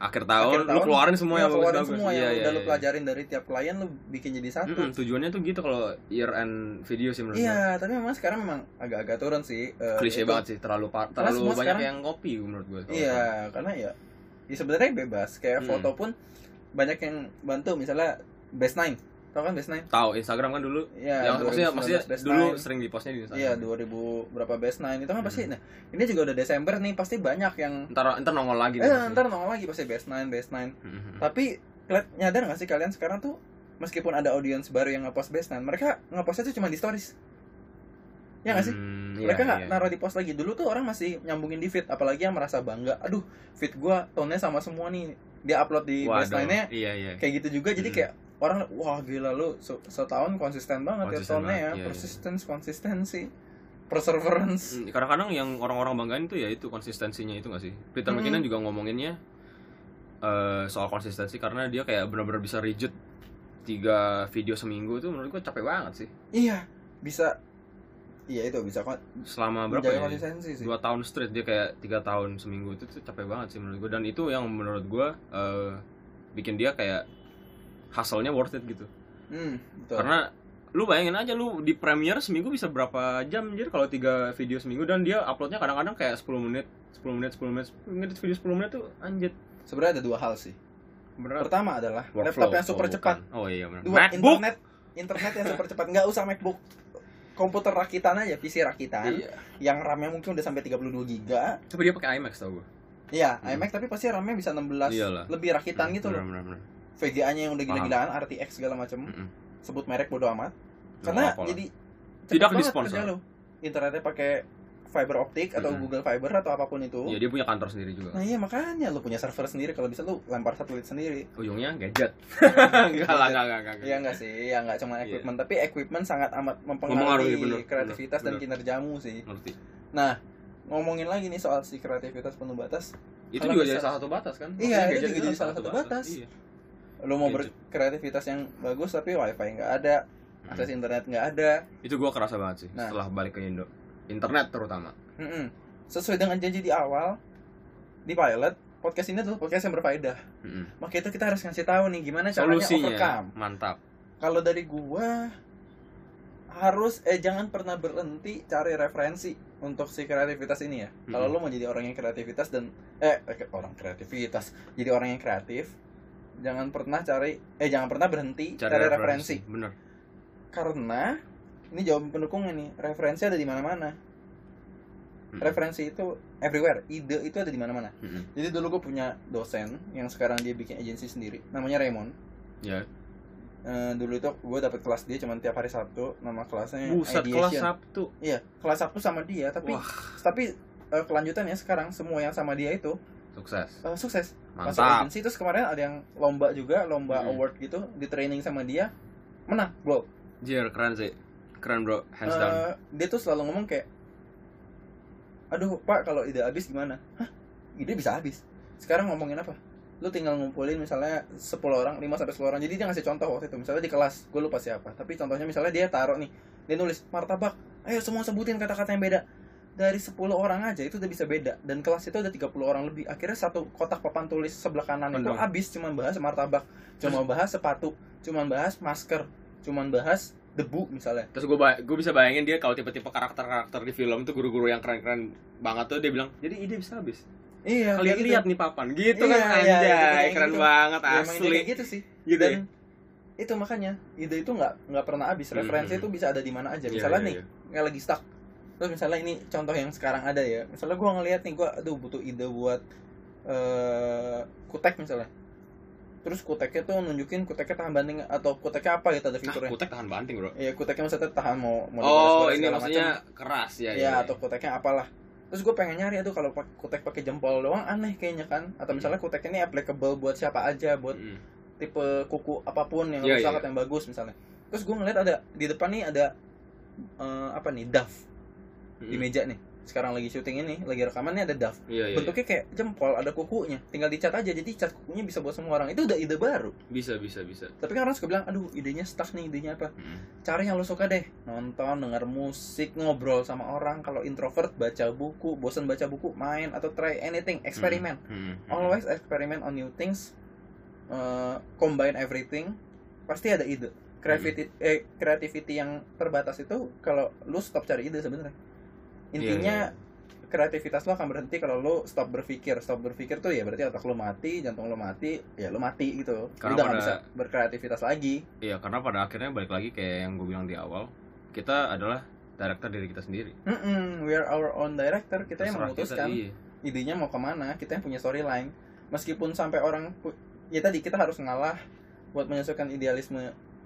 [SPEAKER 1] akhir tahun
[SPEAKER 2] Akhir
[SPEAKER 1] lu
[SPEAKER 2] tahun,
[SPEAKER 1] keluarin semua
[SPEAKER 2] ya,
[SPEAKER 1] yang
[SPEAKER 2] keluarin
[SPEAKER 1] bagus-bagus.
[SPEAKER 2] semua
[SPEAKER 1] Iya,
[SPEAKER 2] yang
[SPEAKER 1] iya,
[SPEAKER 2] udah lu
[SPEAKER 1] iya.
[SPEAKER 2] pelajarin dari tiap klien lu bikin jadi satu
[SPEAKER 1] Mm-mm, tujuannya tuh gitu kalau year end video sih menurut gua.
[SPEAKER 2] iya tapi memang sekarang memang agak-agak turun sih Eh,
[SPEAKER 1] Klise
[SPEAKER 2] itu-
[SPEAKER 1] banget sih, terlalu par-
[SPEAKER 2] Karena
[SPEAKER 1] terlalu
[SPEAKER 2] semua
[SPEAKER 1] banyak
[SPEAKER 2] sekarang-
[SPEAKER 1] yang kopi menurut gue.
[SPEAKER 2] iya karena ya, ya sebenarnya bebas
[SPEAKER 1] Oh.
[SPEAKER 2] kayak
[SPEAKER 1] Hmm.
[SPEAKER 2] foto pun banyak yang bantu misalnya best nine tau kan best nine
[SPEAKER 1] Tahu Instagram kan dulu
[SPEAKER 2] Iya,
[SPEAKER 1] yang maksudnya
[SPEAKER 2] 2019
[SPEAKER 1] maksudnya
[SPEAKER 2] best
[SPEAKER 1] dulu
[SPEAKER 2] nine.
[SPEAKER 1] sering dipostnya di Instagram.
[SPEAKER 2] Iya 2000 berapa best nine itu kan pasti
[SPEAKER 1] Hmm.
[SPEAKER 2] nah ini juga udah Desember nih pasti banyak yang
[SPEAKER 1] Ntar ntar nongol lagi
[SPEAKER 2] eh ntar nongol lagi pasti best nine best nine
[SPEAKER 1] Hmm.
[SPEAKER 2] tapi kalian nyadar gak sih kalian sekarang tuh meskipun ada audiens baru yang ngepost best nine mereka ngepostnya tuh cuma di stories ya gak sih
[SPEAKER 1] Hmm, iya,
[SPEAKER 2] mereka nggak naruh di post lagi dulu tuh orang masih nyambungin di feed apalagi yang merasa bangga aduh feed gua tone-nya sama semua nih dia upload di best nine-nya
[SPEAKER 1] Iya iya.
[SPEAKER 2] kayak gitu juga jadi
[SPEAKER 1] Hmm.
[SPEAKER 2] kayak orang wah gila lu se- setahun konsisten banget
[SPEAKER 1] Konsisten
[SPEAKER 2] ya tone
[SPEAKER 1] banget,
[SPEAKER 2] ya
[SPEAKER 1] iya, iya.
[SPEAKER 2] persistence konsistensi perseverance
[SPEAKER 1] Mm, Kadang-kadang yang orang-orang banggain tuh ya itu konsistensinya itu gak sih? Peter
[SPEAKER 2] Mm-mm.
[SPEAKER 1] McKinnon juga ngomonginnya eh, soal konsistensi karena dia kayak benar-benar bisa rigid tiga video seminggu tuh menurut gue capek banget sih.
[SPEAKER 2] iya bisa iya itu bisa kon-
[SPEAKER 1] Selama berapa
[SPEAKER 2] menjaga
[SPEAKER 1] ya?
[SPEAKER 2] konsistensi sih
[SPEAKER 1] dua tahun straight dia kayak tiga tahun seminggu itu tuh capek banget sih menurut gue dan itu yang menurut gue eh, bikin dia kayak hasilnya worth it gitu
[SPEAKER 2] hmm, betul.
[SPEAKER 1] karena lu bayangin aja lu di Premiere seminggu bisa berapa jam anjir kalau tiga video seminggu dan dia uploadnya kadang-kadang kayak 10 menit 10 menit 10 menit 10 menit video 10 menit tuh anjir
[SPEAKER 2] sebenarnya ada dua hal sih
[SPEAKER 1] beneran
[SPEAKER 2] pertama adalah
[SPEAKER 1] Workflow.
[SPEAKER 2] laptop yang super
[SPEAKER 1] Oh,
[SPEAKER 2] cepat
[SPEAKER 1] bukan. oh iya benar
[SPEAKER 2] dua
[SPEAKER 1] MacBook
[SPEAKER 2] internet internet yang super cepat nggak usah macbook komputer rakitan aja PC rakitan
[SPEAKER 1] Iya.
[SPEAKER 2] yang RAM-nya mungkin udah sampai 32 giga
[SPEAKER 1] tapi dia pakai iMac tau gue
[SPEAKER 2] iya
[SPEAKER 1] Hmm.
[SPEAKER 2] iMac tapi pasti RAM-nya bisa 16
[SPEAKER 1] Iyalah. Hmm.
[SPEAKER 2] lebih rakitan gitu loh
[SPEAKER 1] bener, bener.
[SPEAKER 2] VGA-nya yang udah gila-gilaan RTX segala macam
[SPEAKER 1] Mm-mm.
[SPEAKER 2] sebut merek bodo amat
[SPEAKER 1] Hmm. Nggak
[SPEAKER 2] karena
[SPEAKER 1] apa-apa lah.
[SPEAKER 2] jadi cepet
[SPEAKER 1] Tidak
[SPEAKER 2] banget
[SPEAKER 1] disponsor.
[SPEAKER 2] kerja lo. internetnya pakai fiber optik atau
[SPEAKER 1] Mm-mm.
[SPEAKER 2] Google Fiber atau apapun itu
[SPEAKER 1] Iya, dia punya kantor sendiri juga
[SPEAKER 2] nah iya makanya lu punya server sendiri kalau bisa lu lempar satelit sendiri
[SPEAKER 1] ujungnya gadget enggak lah enggak enggak enggak
[SPEAKER 2] Iya enggak sih, ya enggak cuma
[SPEAKER 1] Iya.
[SPEAKER 2] equipment, tapi equipment sangat amat
[SPEAKER 1] Mempengaruhi,
[SPEAKER 2] mempengaruhi
[SPEAKER 1] bener,
[SPEAKER 2] kreativitas
[SPEAKER 1] bener,
[SPEAKER 2] dan kinerjamu sih.
[SPEAKER 1] ngerti
[SPEAKER 2] Nah, ngomongin lagi nih soal si kreativitas penuh batas.
[SPEAKER 1] itu
[SPEAKER 2] Kalau
[SPEAKER 1] juga
[SPEAKER 2] bisa-
[SPEAKER 1] jadi salah satu batas kan Maksudnya
[SPEAKER 2] Iya, itu
[SPEAKER 1] gadget
[SPEAKER 2] juga jadi salah satu batas.
[SPEAKER 1] Iya.
[SPEAKER 2] Lu mau
[SPEAKER 1] Gadget.
[SPEAKER 2] berkreativitas yang bagus tapi wifi nggak ada,
[SPEAKER 1] Mm.
[SPEAKER 2] akses internet nggak ada.
[SPEAKER 1] itu gua kerasa banget sih
[SPEAKER 2] Nah.
[SPEAKER 1] setelah balik ke Indo internet terutama
[SPEAKER 2] Mm-mm. Sesuai dengan janji di awal di pilot, podcast ini adalah podcast yang berfaedah.
[SPEAKER 1] Mm-mm.
[SPEAKER 2] Maka itu kita harus ngasih tahu nih gimana caranya
[SPEAKER 1] solusinya
[SPEAKER 2] overcome.
[SPEAKER 1] mantap
[SPEAKER 2] Kalau dari gua harus eh jangan pernah berhenti cari referensi untuk si kreativitas ini ya. Kalau
[SPEAKER 1] Mm-mm.
[SPEAKER 2] lu mau jadi orang yang kreativitas dan eh eh, orang kreativitas, jadi orang yang kreatif, jangan pernah cari eh jangan pernah berhenti cari, referensi.
[SPEAKER 1] bener
[SPEAKER 2] Karena ini jawaban pendukungnya nih, referensi ada di mana-mana.
[SPEAKER 1] Mm-mm.
[SPEAKER 2] Referensi itu everywhere, ide itu ada di mana-mana.
[SPEAKER 1] Mm-mm.
[SPEAKER 2] Jadi dulu gue punya dosen yang sekarang dia bikin agensi sendiri, namanya Raymond.
[SPEAKER 1] ya
[SPEAKER 2] Eh, dulu itu gue dapet kelas dia cuman tiap hari Sabtu, nama kelasnya
[SPEAKER 1] buset kelas
[SPEAKER 2] Ideation.
[SPEAKER 1] Sabtu
[SPEAKER 2] Iya, kelas Sabtu sama dia, tapi
[SPEAKER 1] wah
[SPEAKER 2] tapi eh, kelanjutannya sekarang semua yang sama dia itu
[SPEAKER 1] sukses
[SPEAKER 2] eh, sukses. Masuk
[SPEAKER 1] mantap
[SPEAKER 2] agensi terus kemarin ada yang lomba juga, lomba
[SPEAKER 1] Hmm.
[SPEAKER 2] award gitu, di training sama dia menang, bro.
[SPEAKER 1] jir keren sih keren bro hands down
[SPEAKER 2] Eh, dia tuh selalu ngomong kayak aduh pak kalau ide habis gimana hah ide bisa habis sekarang ngomongin apa lu tinggal ngumpulin misalnya 10 orang 5 sampai 10 orang jadi dia ngasih contoh waktu itu misalnya di kelas gue lupa siapa tapi contohnya misalnya dia taruh nih dia nulis martabak ayo semua sebutin kata-kata yang beda dari 10 orang aja itu udah bisa beda dan kelas itu ada 30 orang lebih akhirnya satu kotak papan tulis sebelah kanan itu
[SPEAKER 1] Bener.
[SPEAKER 2] habis cuman bahas martabak cuma bahas sepatu cuman bahas masker cuman bahas debu misalnya
[SPEAKER 1] terus gue gue bisa bayangin dia kalau tipe-tipe karakter-karakter di film tuh guru-guru yang keren-keren banget tuh dia bilang jadi ide bisa habis
[SPEAKER 2] iya
[SPEAKER 1] kalian
[SPEAKER 2] kayak gitu.
[SPEAKER 1] lihat nih papan gitu kan
[SPEAKER 2] Iya, iya,
[SPEAKER 1] anjay
[SPEAKER 2] iya, kayak
[SPEAKER 1] keren
[SPEAKER 2] gitu.
[SPEAKER 1] banget
[SPEAKER 2] Ya, emang ide
[SPEAKER 1] asli
[SPEAKER 2] kayak gitu sih
[SPEAKER 1] gitu
[SPEAKER 2] dan
[SPEAKER 1] ya?
[SPEAKER 2] itu makanya ide itu nggak nggak pernah habis
[SPEAKER 1] Hmm.
[SPEAKER 2] referensi itu bisa ada di mana aja
[SPEAKER 1] Iya,
[SPEAKER 2] misalnya
[SPEAKER 1] iya,
[SPEAKER 2] nih
[SPEAKER 1] iya.
[SPEAKER 2] nggak lagi stuck terus misalnya ini contoh yang sekarang ada ya misalnya gua ngelihat nih gua aduh butuh ide buat eh kutek misalnya terus kuteknya tuh nunjukin kuteknya tahan banting atau kuteknya apa gitu
[SPEAKER 1] ah
[SPEAKER 2] ada fiturnya
[SPEAKER 1] kutek tahan banting bro
[SPEAKER 2] Iya kuteknya maksudnya tahan mau mau
[SPEAKER 1] oh
[SPEAKER 2] digores-gores
[SPEAKER 1] ini
[SPEAKER 2] segala
[SPEAKER 1] maksudnya
[SPEAKER 2] macam.
[SPEAKER 1] keras ya
[SPEAKER 2] ya atau kuteknya apalah terus gue pengen nyari aduh kalau pakai kutek pakai jempol doang aneh kayaknya kan atau
[SPEAKER 1] Hmm.
[SPEAKER 2] misalnya kutek ini applicable buat siapa aja buat
[SPEAKER 1] Mm.
[SPEAKER 2] tipe kuku apapun yang
[SPEAKER 1] Iya,
[SPEAKER 2] rusak
[SPEAKER 1] iya,
[SPEAKER 2] atau yang bagus misalnya terus gue ngeliat ada di depan nih ada eh, apa nih duff di
[SPEAKER 1] Mm.
[SPEAKER 2] meja nih sekarang lagi syuting ini lagi rekamannya ada duff
[SPEAKER 1] iya iya iya.
[SPEAKER 2] bentuknya kayak jempol ada kukunya tinggal dicat aja jadi cat kukunya bisa buat semua orang itu udah ide baru
[SPEAKER 1] bisa bisa bisa
[SPEAKER 2] tapi kan orang suka bilang aduh idenya stuck nih idenya apa
[SPEAKER 1] Mm.
[SPEAKER 2] cari yang lo suka deh nonton denger musik ngobrol sama orang kalau introvert baca buku bosen baca buku main atau try anything eksperimen
[SPEAKER 1] Mm. Mm.
[SPEAKER 2] always experiment on new things uh, combine everything pasti ada ide creativity
[SPEAKER 1] Hmm.
[SPEAKER 2] eh, creativity yang terbatas itu kalau lu stop cari ide sebenarnya
[SPEAKER 1] Iya,
[SPEAKER 2] intinya
[SPEAKER 1] iya, iya.
[SPEAKER 2] kreativitas lo akan berhenti kalau lo stop berpikir stop berpikir tuh ya berarti otak lo mati jantung lo mati ya lo mati gitu
[SPEAKER 1] Karena
[SPEAKER 2] udah nggak
[SPEAKER 1] pada-
[SPEAKER 2] bisa berkreativitas lagi
[SPEAKER 1] Iya, karena pada akhirnya balik lagi kayak yang gue bilang di awal kita adalah director diri kita sendiri
[SPEAKER 2] Mm-mm, we are our own director kita yang
[SPEAKER 1] Terserah
[SPEAKER 2] memutuskan
[SPEAKER 1] iya.
[SPEAKER 2] idenya mau kemana kita yang punya storyline meskipun sampai orang pu- ya tadi kita harus ngalah buat menyesuaikan idealisme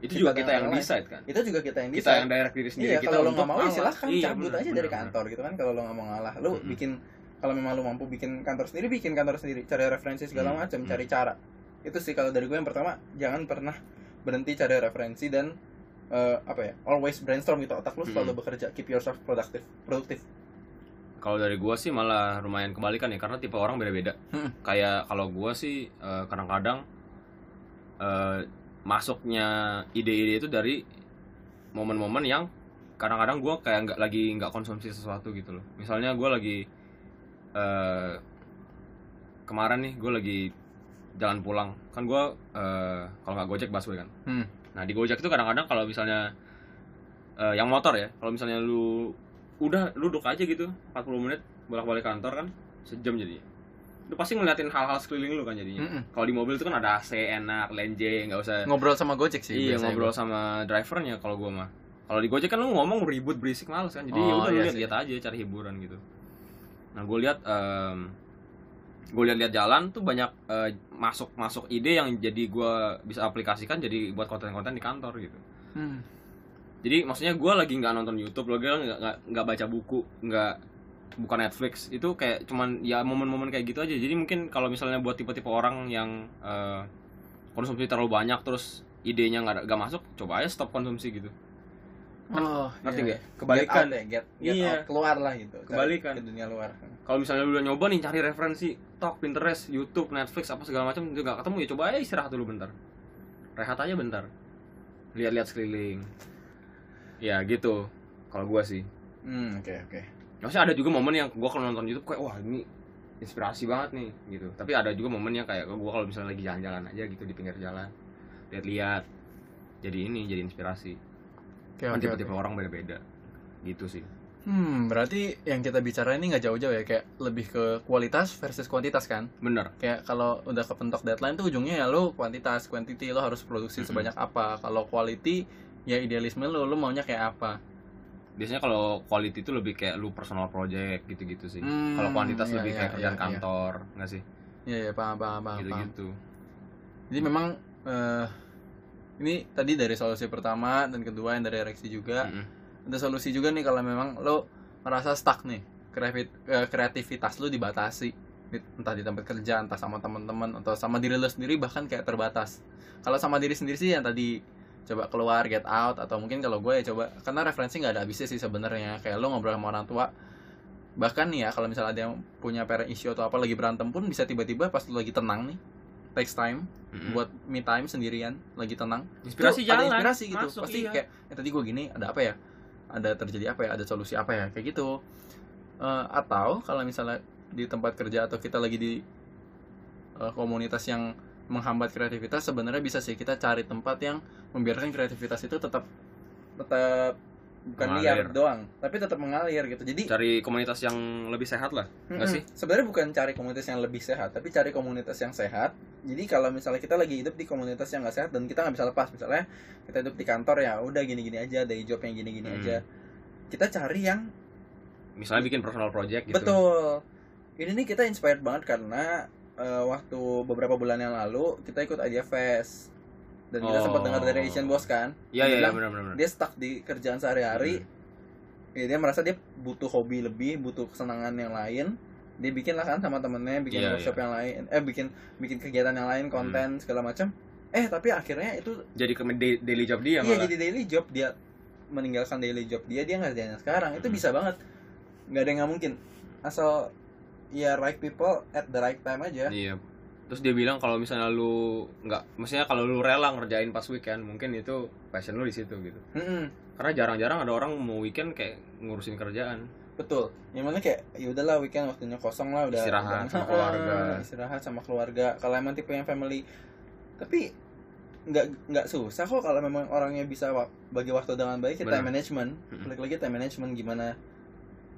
[SPEAKER 1] itu
[SPEAKER 2] Kita
[SPEAKER 1] juga
[SPEAKER 2] dengan
[SPEAKER 1] kita yang
[SPEAKER 2] orang lain.
[SPEAKER 1] decide kan
[SPEAKER 2] itu juga kita yang
[SPEAKER 1] kita
[SPEAKER 2] bisa
[SPEAKER 1] yang direct diri sendiri
[SPEAKER 2] iya
[SPEAKER 1] kita
[SPEAKER 2] kalau lo nggak
[SPEAKER 1] untuk
[SPEAKER 2] mau ya
[SPEAKER 1] ngalah.
[SPEAKER 2] silahkan
[SPEAKER 1] Iya,
[SPEAKER 2] cabut
[SPEAKER 1] benar,
[SPEAKER 2] aja
[SPEAKER 1] benar,
[SPEAKER 2] dari
[SPEAKER 1] benar.
[SPEAKER 2] kantor gitu kan kalau lo nggak mau ngalah lo
[SPEAKER 1] Mm-mm.
[SPEAKER 2] bikin kalau memang lo mampu bikin kantor sendiri bikin kantor sendiri cari referensi segala
[SPEAKER 1] Mm,
[SPEAKER 2] macam
[SPEAKER 1] mm.
[SPEAKER 2] cari cara itu sih kalau dari gue yang pertama jangan pernah berhenti cari referensi dan eh, apa ya always brainstorm gitu otak lo selalu
[SPEAKER 1] Mm.
[SPEAKER 2] bekerja keep yourself productive produktif
[SPEAKER 1] Kalau dari gua sih malah lumayan kebalikan ya karena tipe orang beda-beda.
[SPEAKER 2] Hmm.
[SPEAKER 1] Kayak kalau gua sih eh, kadang-kadang eh, masuknya ide-ide itu dari momen-momen yang kadang-kadang gua kayak nggak lagi nggak konsumsi sesuatu gitu loh. Misalnya gua lagi eh, kemarin nih gua lagi jalan pulang kan gua eh, kalau nggak gojek busway kan.
[SPEAKER 2] Hmm.
[SPEAKER 1] Nah di gojek itu kadang-kadang kalau misalnya eh, yang motor ya kalau misalnya lu udah duduk aja gitu 40 menit bolak-balik kantor kan sejam jadinya lu pasti ngeliatin hal-hal sekeliling lu kan jadinya kalau di mobil itu kan ada AC enak lenje nggak usah
[SPEAKER 2] ngobrol sama gojek sih
[SPEAKER 1] iya ngobrol sama drivernya kalau gua mah kalau di Gojek kan lu ngomong ribut berisik males kan jadi
[SPEAKER 2] Oh,
[SPEAKER 1] ya udah lu
[SPEAKER 2] iya
[SPEAKER 1] lihat
[SPEAKER 2] sih.
[SPEAKER 1] lihat aja cari hiburan gitu nah gue lihat gue lihat-lihat jalan tuh banyak masuk masuk ide yang jadi gua bisa aplikasikan jadi buat konten-konten di kantor gitu
[SPEAKER 2] Hmm.
[SPEAKER 1] jadi maksudnya gue lagi nggak nonton YouTube lagi nggak nggak- nggak baca buku nggak bukan Netflix itu kayak cuman ya momen-momen kayak gitu aja jadi mungkin kalau misalnya buat tipe-tipe orang yang eh, konsumsi terlalu banyak terus idenya nggak ada- nggak masuk coba aja stop konsumsi gitu
[SPEAKER 2] oh,
[SPEAKER 1] ngerti
[SPEAKER 2] iya.
[SPEAKER 1] nggak
[SPEAKER 2] kebalikan
[SPEAKER 1] kebalikan
[SPEAKER 2] get out, ya, get, get
[SPEAKER 1] Iya.
[SPEAKER 2] out, keluar lah gitu Cari
[SPEAKER 1] Kebalikan.
[SPEAKER 2] ke dunia luar
[SPEAKER 1] kalau misalnya lu udah nyoba nih cari referensi TikTok Pinterest YouTube Netflix apa segala macam juga nggak ketemu ya coba aja istirahat dulu bentar rehat aja bentar lihat-lihat sekeliling ya gitu kalau gue sih
[SPEAKER 2] hmm oke oke
[SPEAKER 1] Maksudnya ada juga momen yang gua kalau nonton YouTube kayak wah ini inspirasi banget nih gitu. Tapi ada juga momen yang kayak gua kalau misalnya lagi jalan-jalan aja gitu di pinggir jalan lihat-lihat jadi ini jadi inspirasi.
[SPEAKER 2] oke
[SPEAKER 1] Kan
[SPEAKER 2] oke,
[SPEAKER 1] tipe-tipe
[SPEAKER 2] oke.
[SPEAKER 1] orang beda-beda gitu sih.
[SPEAKER 2] Hmm, berarti yang kita bicara ini nggak jauh-jauh ya, kayak lebih ke kualitas versus kuantitas kan?
[SPEAKER 1] Bener.
[SPEAKER 2] Kayak kalau udah kepentok deadline tuh ujungnya ya lo kuantitas, quantity lo harus produksi
[SPEAKER 1] Mm-mm.
[SPEAKER 2] sebanyak apa. Kalau quality ya idealisme lo, lo maunya kayak apa?
[SPEAKER 1] Biasanya kalau quality itu lebih kayak lu personal project gitu-gitu sih.
[SPEAKER 2] Hmm,
[SPEAKER 1] Kalau kuantitas lebih kayak kerjaan kantor, nggak sih?
[SPEAKER 2] Iya, iya, paham, paham, paham, paham.
[SPEAKER 1] Gitu-gitu.
[SPEAKER 2] Jadi memang eh, ini tadi dari solusi pertama dan kedua yang dari ereksi juga.
[SPEAKER 1] Mm-mm.
[SPEAKER 2] Ada solusi juga nih kalau memang lo merasa stuck nih, kreativit- eh, kreativitas lo dibatasi Di- entah di tempat kerja, entah sama teman-teman atau sama diri lo sendiri bahkan kayak terbatas. Kalau sama diri sendiri sih yang tadi coba keluar get out atau mungkin kalau gue ya coba karena referensi nggak ada habisnya sih sebenarnya kayak lo ngobrol sama orang tua bahkan nih ya kalau misalnya ada yang punya parent issue atau apa lagi berantem pun bisa tiba-tiba pas lo lagi tenang nih takes time
[SPEAKER 1] Mm-mm.
[SPEAKER 2] buat me time sendirian lagi tenang
[SPEAKER 1] inspirasi
[SPEAKER 2] Tuh,
[SPEAKER 1] jalan.
[SPEAKER 2] Hmm. ada inspirasi gitu
[SPEAKER 1] masuk,
[SPEAKER 2] pasti
[SPEAKER 1] iya.
[SPEAKER 2] kayak "Eh, tadi gue gini ada apa ya ada terjadi apa ya ada solusi apa ya kayak gitu Eh, atau kalau misalnya di tempat kerja atau kita lagi di eh, komunitas yang menghambat kreativitas sebenarnya bisa sih kita cari tempat yang membiarkan kreativitas itu tetap tetap bukan liar
[SPEAKER 1] Mengalir.
[SPEAKER 2] doang, tapi tetap mengalir gitu. Jadi
[SPEAKER 1] cari komunitas yang lebih sehat lah enggak
[SPEAKER 2] Mm-mm.
[SPEAKER 1] sih?
[SPEAKER 2] Sebenarnya bukan cari komunitas yang lebih sehat, tapi cari komunitas yang sehat. Jadi kalau misalnya kita lagi hidup di komunitas yang nggak sehat dan kita nggak bisa lepas, misalnya kita hidup di kantor ya udah gini-gini aja, day job yang gini-gini
[SPEAKER 1] Hmm.
[SPEAKER 2] aja. Kita cari yang
[SPEAKER 1] misalnya bikin personal project gitu
[SPEAKER 2] betul. Ini nih kita inspired banget karena eh, waktu beberapa bulan yang lalu kita ikut Aja Fest dan kita sempat
[SPEAKER 1] Oh.
[SPEAKER 2] dengar dari Asian Boss kan,
[SPEAKER 1] iya iya
[SPEAKER 2] Bilang,
[SPEAKER 1] benar benar benar.
[SPEAKER 2] dia stuck di kerjaan sehari-hari, Ya, dia merasa dia butuh hobi lebih, butuh kesenangan yang lain. Dia bikin lah kan sama temennya, bikin
[SPEAKER 1] Iya, Hmm.
[SPEAKER 2] workshop yang lain, eh bikin bikin kegiatan yang lain, konten segala macam. Eh tapi akhirnya itu
[SPEAKER 1] jadi ke da- daily job dia
[SPEAKER 2] iya
[SPEAKER 1] malah
[SPEAKER 2] jadi daily job dia meninggalkan daily job dia dia ngerjainnya sekarang itu
[SPEAKER 1] Hmm.
[SPEAKER 2] bisa banget nggak ada yang nggak mungkin asal ya right people at the right time aja
[SPEAKER 1] iya terus dia bilang kalau misalnya lu nggak maksudnya kalau lu rela ngerjain pas weekend mungkin itu passion lu di situ gitu
[SPEAKER 2] Mm-mm,
[SPEAKER 1] karena jarang-jarang ada orang mau weekend kayak ngurusin kerjaan
[SPEAKER 2] betul yang mana kayak ya udahlah weekend waktunya kosong lah udah
[SPEAKER 1] Istirahat
[SPEAKER 2] udah-
[SPEAKER 1] sama keluarga.
[SPEAKER 2] Ah, istirahat sama keluarga kalau emang tipe yang family tapi nggak nggak susah kok kalau memang orangnya bisa wa- bagi waktu dengan baik ya time
[SPEAKER 1] Benar.
[SPEAKER 2] management
[SPEAKER 1] Mm-mm.
[SPEAKER 2] balik lagi time management gimana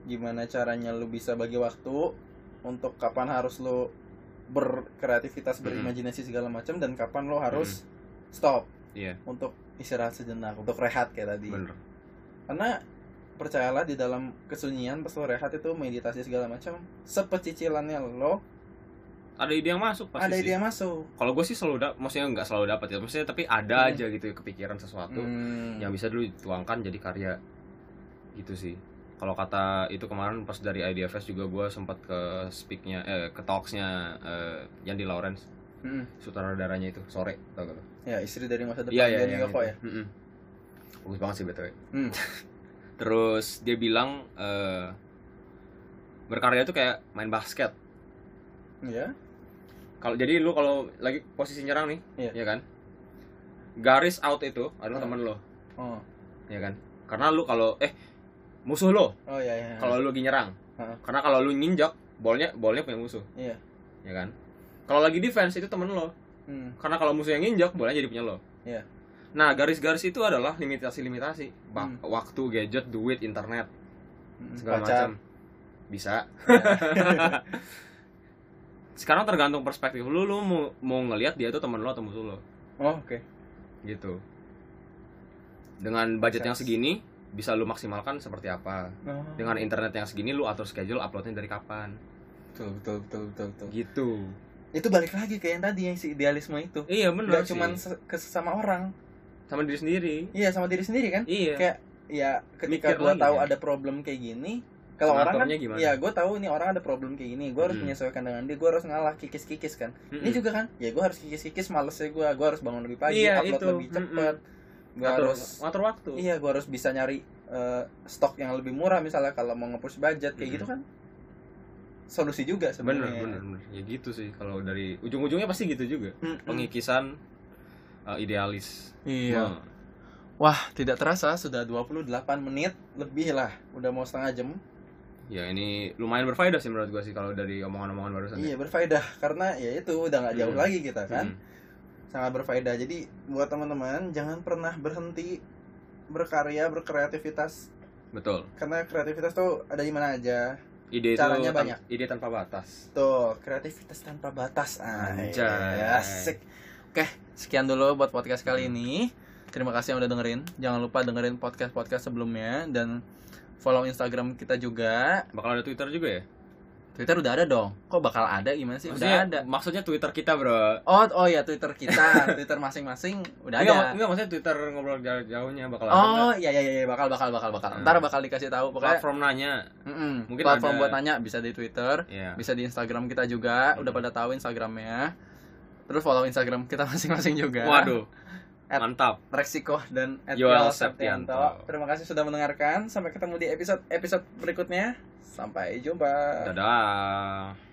[SPEAKER 2] gimana caranya lu bisa bagi waktu untuk kapan harus lu berkreativitas
[SPEAKER 1] Mm-mm.
[SPEAKER 2] berimajinasi segala macam dan kapan lu harus stop
[SPEAKER 1] Iya.
[SPEAKER 2] untuk istirahat sejenak untuk rehat kayak tadi
[SPEAKER 1] bener
[SPEAKER 2] karena percayalah di dalam kesunyian pas lo rehat itu meditasi segala macam sepecicilannya lo
[SPEAKER 1] ada ide yang masuk pasti
[SPEAKER 2] ada
[SPEAKER 1] sih.
[SPEAKER 2] ide yang masuk
[SPEAKER 1] kalau gue sih selalu dapat maksudnya nggak selalu dapat ya maksudnya tapi ada
[SPEAKER 2] Hmm.
[SPEAKER 1] aja gitu kepikiran sesuatu
[SPEAKER 2] Hmm.
[SPEAKER 1] yang bisa dulu dituangkan jadi karya gitu sih kalau kata itu kemarin pas dari Idea Fest juga gue sempat ke speaknya eh ke talksnya eh, yang di Lawrence
[SPEAKER 2] Mm-mm.
[SPEAKER 1] sutradaranya itu sore tau gak lo?
[SPEAKER 2] Hmm. ya istri dari masa depan
[SPEAKER 1] iya iya
[SPEAKER 2] Jenny
[SPEAKER 1] yang
[SPEAKER 2] Yoko
[SPEAKER 1] itu.
[SPEAKER 2] ya
[SPEAKER 1] Mm-mm. bagus banget sih btw
[SPEAKER 2] Hmm.
[SPEAKER 1] terus dia bilang eh, berkarya itu kayak main basket
[SPEAKER 2] Iya.
[SPEAKER 1] kalau jadi lu kalau lagi posisi nyerang nih
[SPEAKER 2] Iya.
[SPEAKER 1] ya kan garis out itu adalah
[SPEAKER 2] Hmm.
[SPEAKER 1] teman lo
[SPEAKER 2] oh
[SPEAKER 1] ya kan karena lu kalau eh musuh lo
[SPEAKER 2] oh ya ya
[SPEAKER 1] kalau lu lagi nyerang.
[SPEAKER 2] Heeh.
[SPEAKER 1] Karena kalau lu nginjak, bolnya bolnya punya musuh.
[SPEAKER 2] Hmm. Iya.
[SPEAKER 1] Ya kan? Kalau lagi defense itu temen lo.
[SPEAKER 2] Hmm.
[SPEAKER 1] Karena kalau musuh yang nginjak, bolanya jadi punya lo.
[SPEAKER 2] Iya.
[SPEAKER 1] Nah, garis-garis itu adalah limitasi-limitasi. Ba- Waktu, gadget, duit, internet,
[SPEAKER 2] Mm-mm.
[SPEAKER 1] segala
[SPEAKER 2] Hmm. Pacar. Ya.
[SPEAKER 1] macam. Bisa. Sekarang tergantung perspektif lu, lu mau, mau ngelihat dia itu temen lo atau musuh lo,
[SPEAKER 2] oh oke
[SPEAKER 1] gitu. Dengan budget yang
[SPEAKER 2] Sense.
[SPEAKER 1] segini, bisa lu maksimalkan seperti apa.
[SPEAKER 2] Oh.
[SPEAKER 1] Dengan internet yang segini, lu atur schedule uploadnya dari kapan.
[SPEAKER 2] betul betul betul betul betul
[SPEAKER 1] gitu
[SPEAKER 2] itu balik lagi kayak yang tadi yang si idealisme itu
[SPEAKER 1] iya benar
[SPEAKER 2] nggak
[SPEAKER 1] sih
[SPEAKER 2] cuman se- ke sesama orang
[SPEAKER 1] sama diri sendiri
[SPEAKER 2] iya sama diri sendiri kan
[SPEAKER 1] iya
[SPEAKER 2] Kayak- ya
[SPEAKER 1] Mikir
[SPEAKER 2] ketika gua
[SPEAKER 1] lagi
[SPEAKER 2] tahu
[SPEAKER 1] ya.
[SPEAKER 2] ada problem kayak gini kalau orang kan
[SPEAKER 1] Ngaturnya gimana?
[SPEAKER 2] ya gue tahu ini orang ada problem kayak gini gue harus
[SPEAKER 1] Hmm.
[SPEAKER 2] menyesuaikan dengan dia gue harus ngalah kikis kikis kan
[SPEAKER 1] Mm-mm.
[SPEAKER 2] ini juga kan ya gue harus kikis kikis malesnya gue gue harus bangun lebih pagi
[SPEAKER 1] Iya,
[SPEAKER 2] upload
[SPEAKER 1] itu.
[SPEAKER 2] lebih cepet gue
[SPEAKER 1] ngatur,
[SPEAKER 2] harus
[SPEAKER 1] ngatur waktu
[SPEAKER 2] iya gue harus bisa nyari eh, stok yang lebih murah misalnya kalau mau nge-push budget kayak
[SPEAKER 1] Mm-mm.
[SPEAKER 2] gitu kan solusi juga
[SPEAKER 1] bener
[SPEAKER 2] sebenarnya
[SPEAKER 1] bener bener ya gitu sih kalau dari ujung-ujungnya pasti gitu juga
[SPEAKER 2] Mm-mm.
[SPEAKER 1] pengikisan uh, idealis
[SPEAKER 2] Mm. iya
[SPEAKER 1] Nah,
[SPEAKER 2] wah tidak terasa sudah 28 menit lebih lah udah mau setengah jam
[SPEAKER 1] ya ini lumayan berfaedah sih menurut gua sih kalau dari omongan-omongan barusan ya.
[SPEAKER 2] iya berfaedah karena ya itu udah nggak jauh
[SPEAKER 1] Mm.
[SPEAKER 2] lagi kita kan
[SPEAKER 1] Mm.
[SPEAKER 2] sangat berfaedah. Jadi buat teman-teman jangan pernah berhenti berkarya, berkreativitas
[SPEAKER 1] betul
[SPEAKER 2] karena kreativitas tuh ada di mana aja.
[SPEAKER 1] ide itu
[SPEAKER 2] Caranya
[SPEAKER 1] tan-
[SPEAKER 2] banyak.
[SPEAKER 1] ide tanpa batas
[SPEAKER 2] Tuh, kreativitas tanpa batas. Anjay.
[SPEAKER 1] Anjay.
[SPEAKER 2] Asik. Oke, sekian dulu buat podcast kali ini. Terima kasih yang udah dengerin. Jangan lupa dengerin podcast-podcast sebelumnya dan follow Instagram kita juga.
[SPEAKER 1] bakal ada twitter juga ya
[SPEAKER 2] Twitter udah ada dong. Kok bakal ada gimana sih? Udah ada.
[SPEAKER 1] maksudnya twitter kita bro
[SPEAKER 2] Oh, oh ya Twitter kita, Twitter masing-masing
[SPEAKER 1] Enggak,
[SPEAKER 2] udah ada.
[SPEAKER 1] mak- enggak, Iya, maksudnya twitter ngobrol jauh- jauhnya bakal ada
[SPEAKER 2] Oh
[SPEAKER 1] nggak?
[SPEAKER 2] iya iya iya bakal bakal bakal bakal.
[SPEAKER 1] Hmm.
[SPEAKER 2] Ntar bakal dikasih tahu pokoknya.
[SPEAKER 1] platform nanya
[SPEAKER 2] Mm-mm.
[SPEAKER 1] Mungkin ada-
[SPEAKER 2] platform buat nanya bisa di Twitter,
[SPEAKER 1] ya
[SPEAKER 2] bisa di Instagram kita juga.
[SPEAKER 1] Hmm.
[SPEAKER 2] Udah pada tahu Instagramnya. Terus follow Instagram kita masing-masing juga.
[SPEAKER 1] waduh
[SPEAKER 2] At-
[SPEAKER 1] mantap
[SPEAKER 2] Reksiko dan
[SPEAKER 1] Yoel
[SPEAKER 2] Yoel Septianto.
[SPEAKER 1] Septianto.
[SPEAKER 2] Terima kasih sudah mendengarkan. Sampai ketemu di episode episode berikutnya. Sampai jumpa.
[SPEAKER 1] Dadah.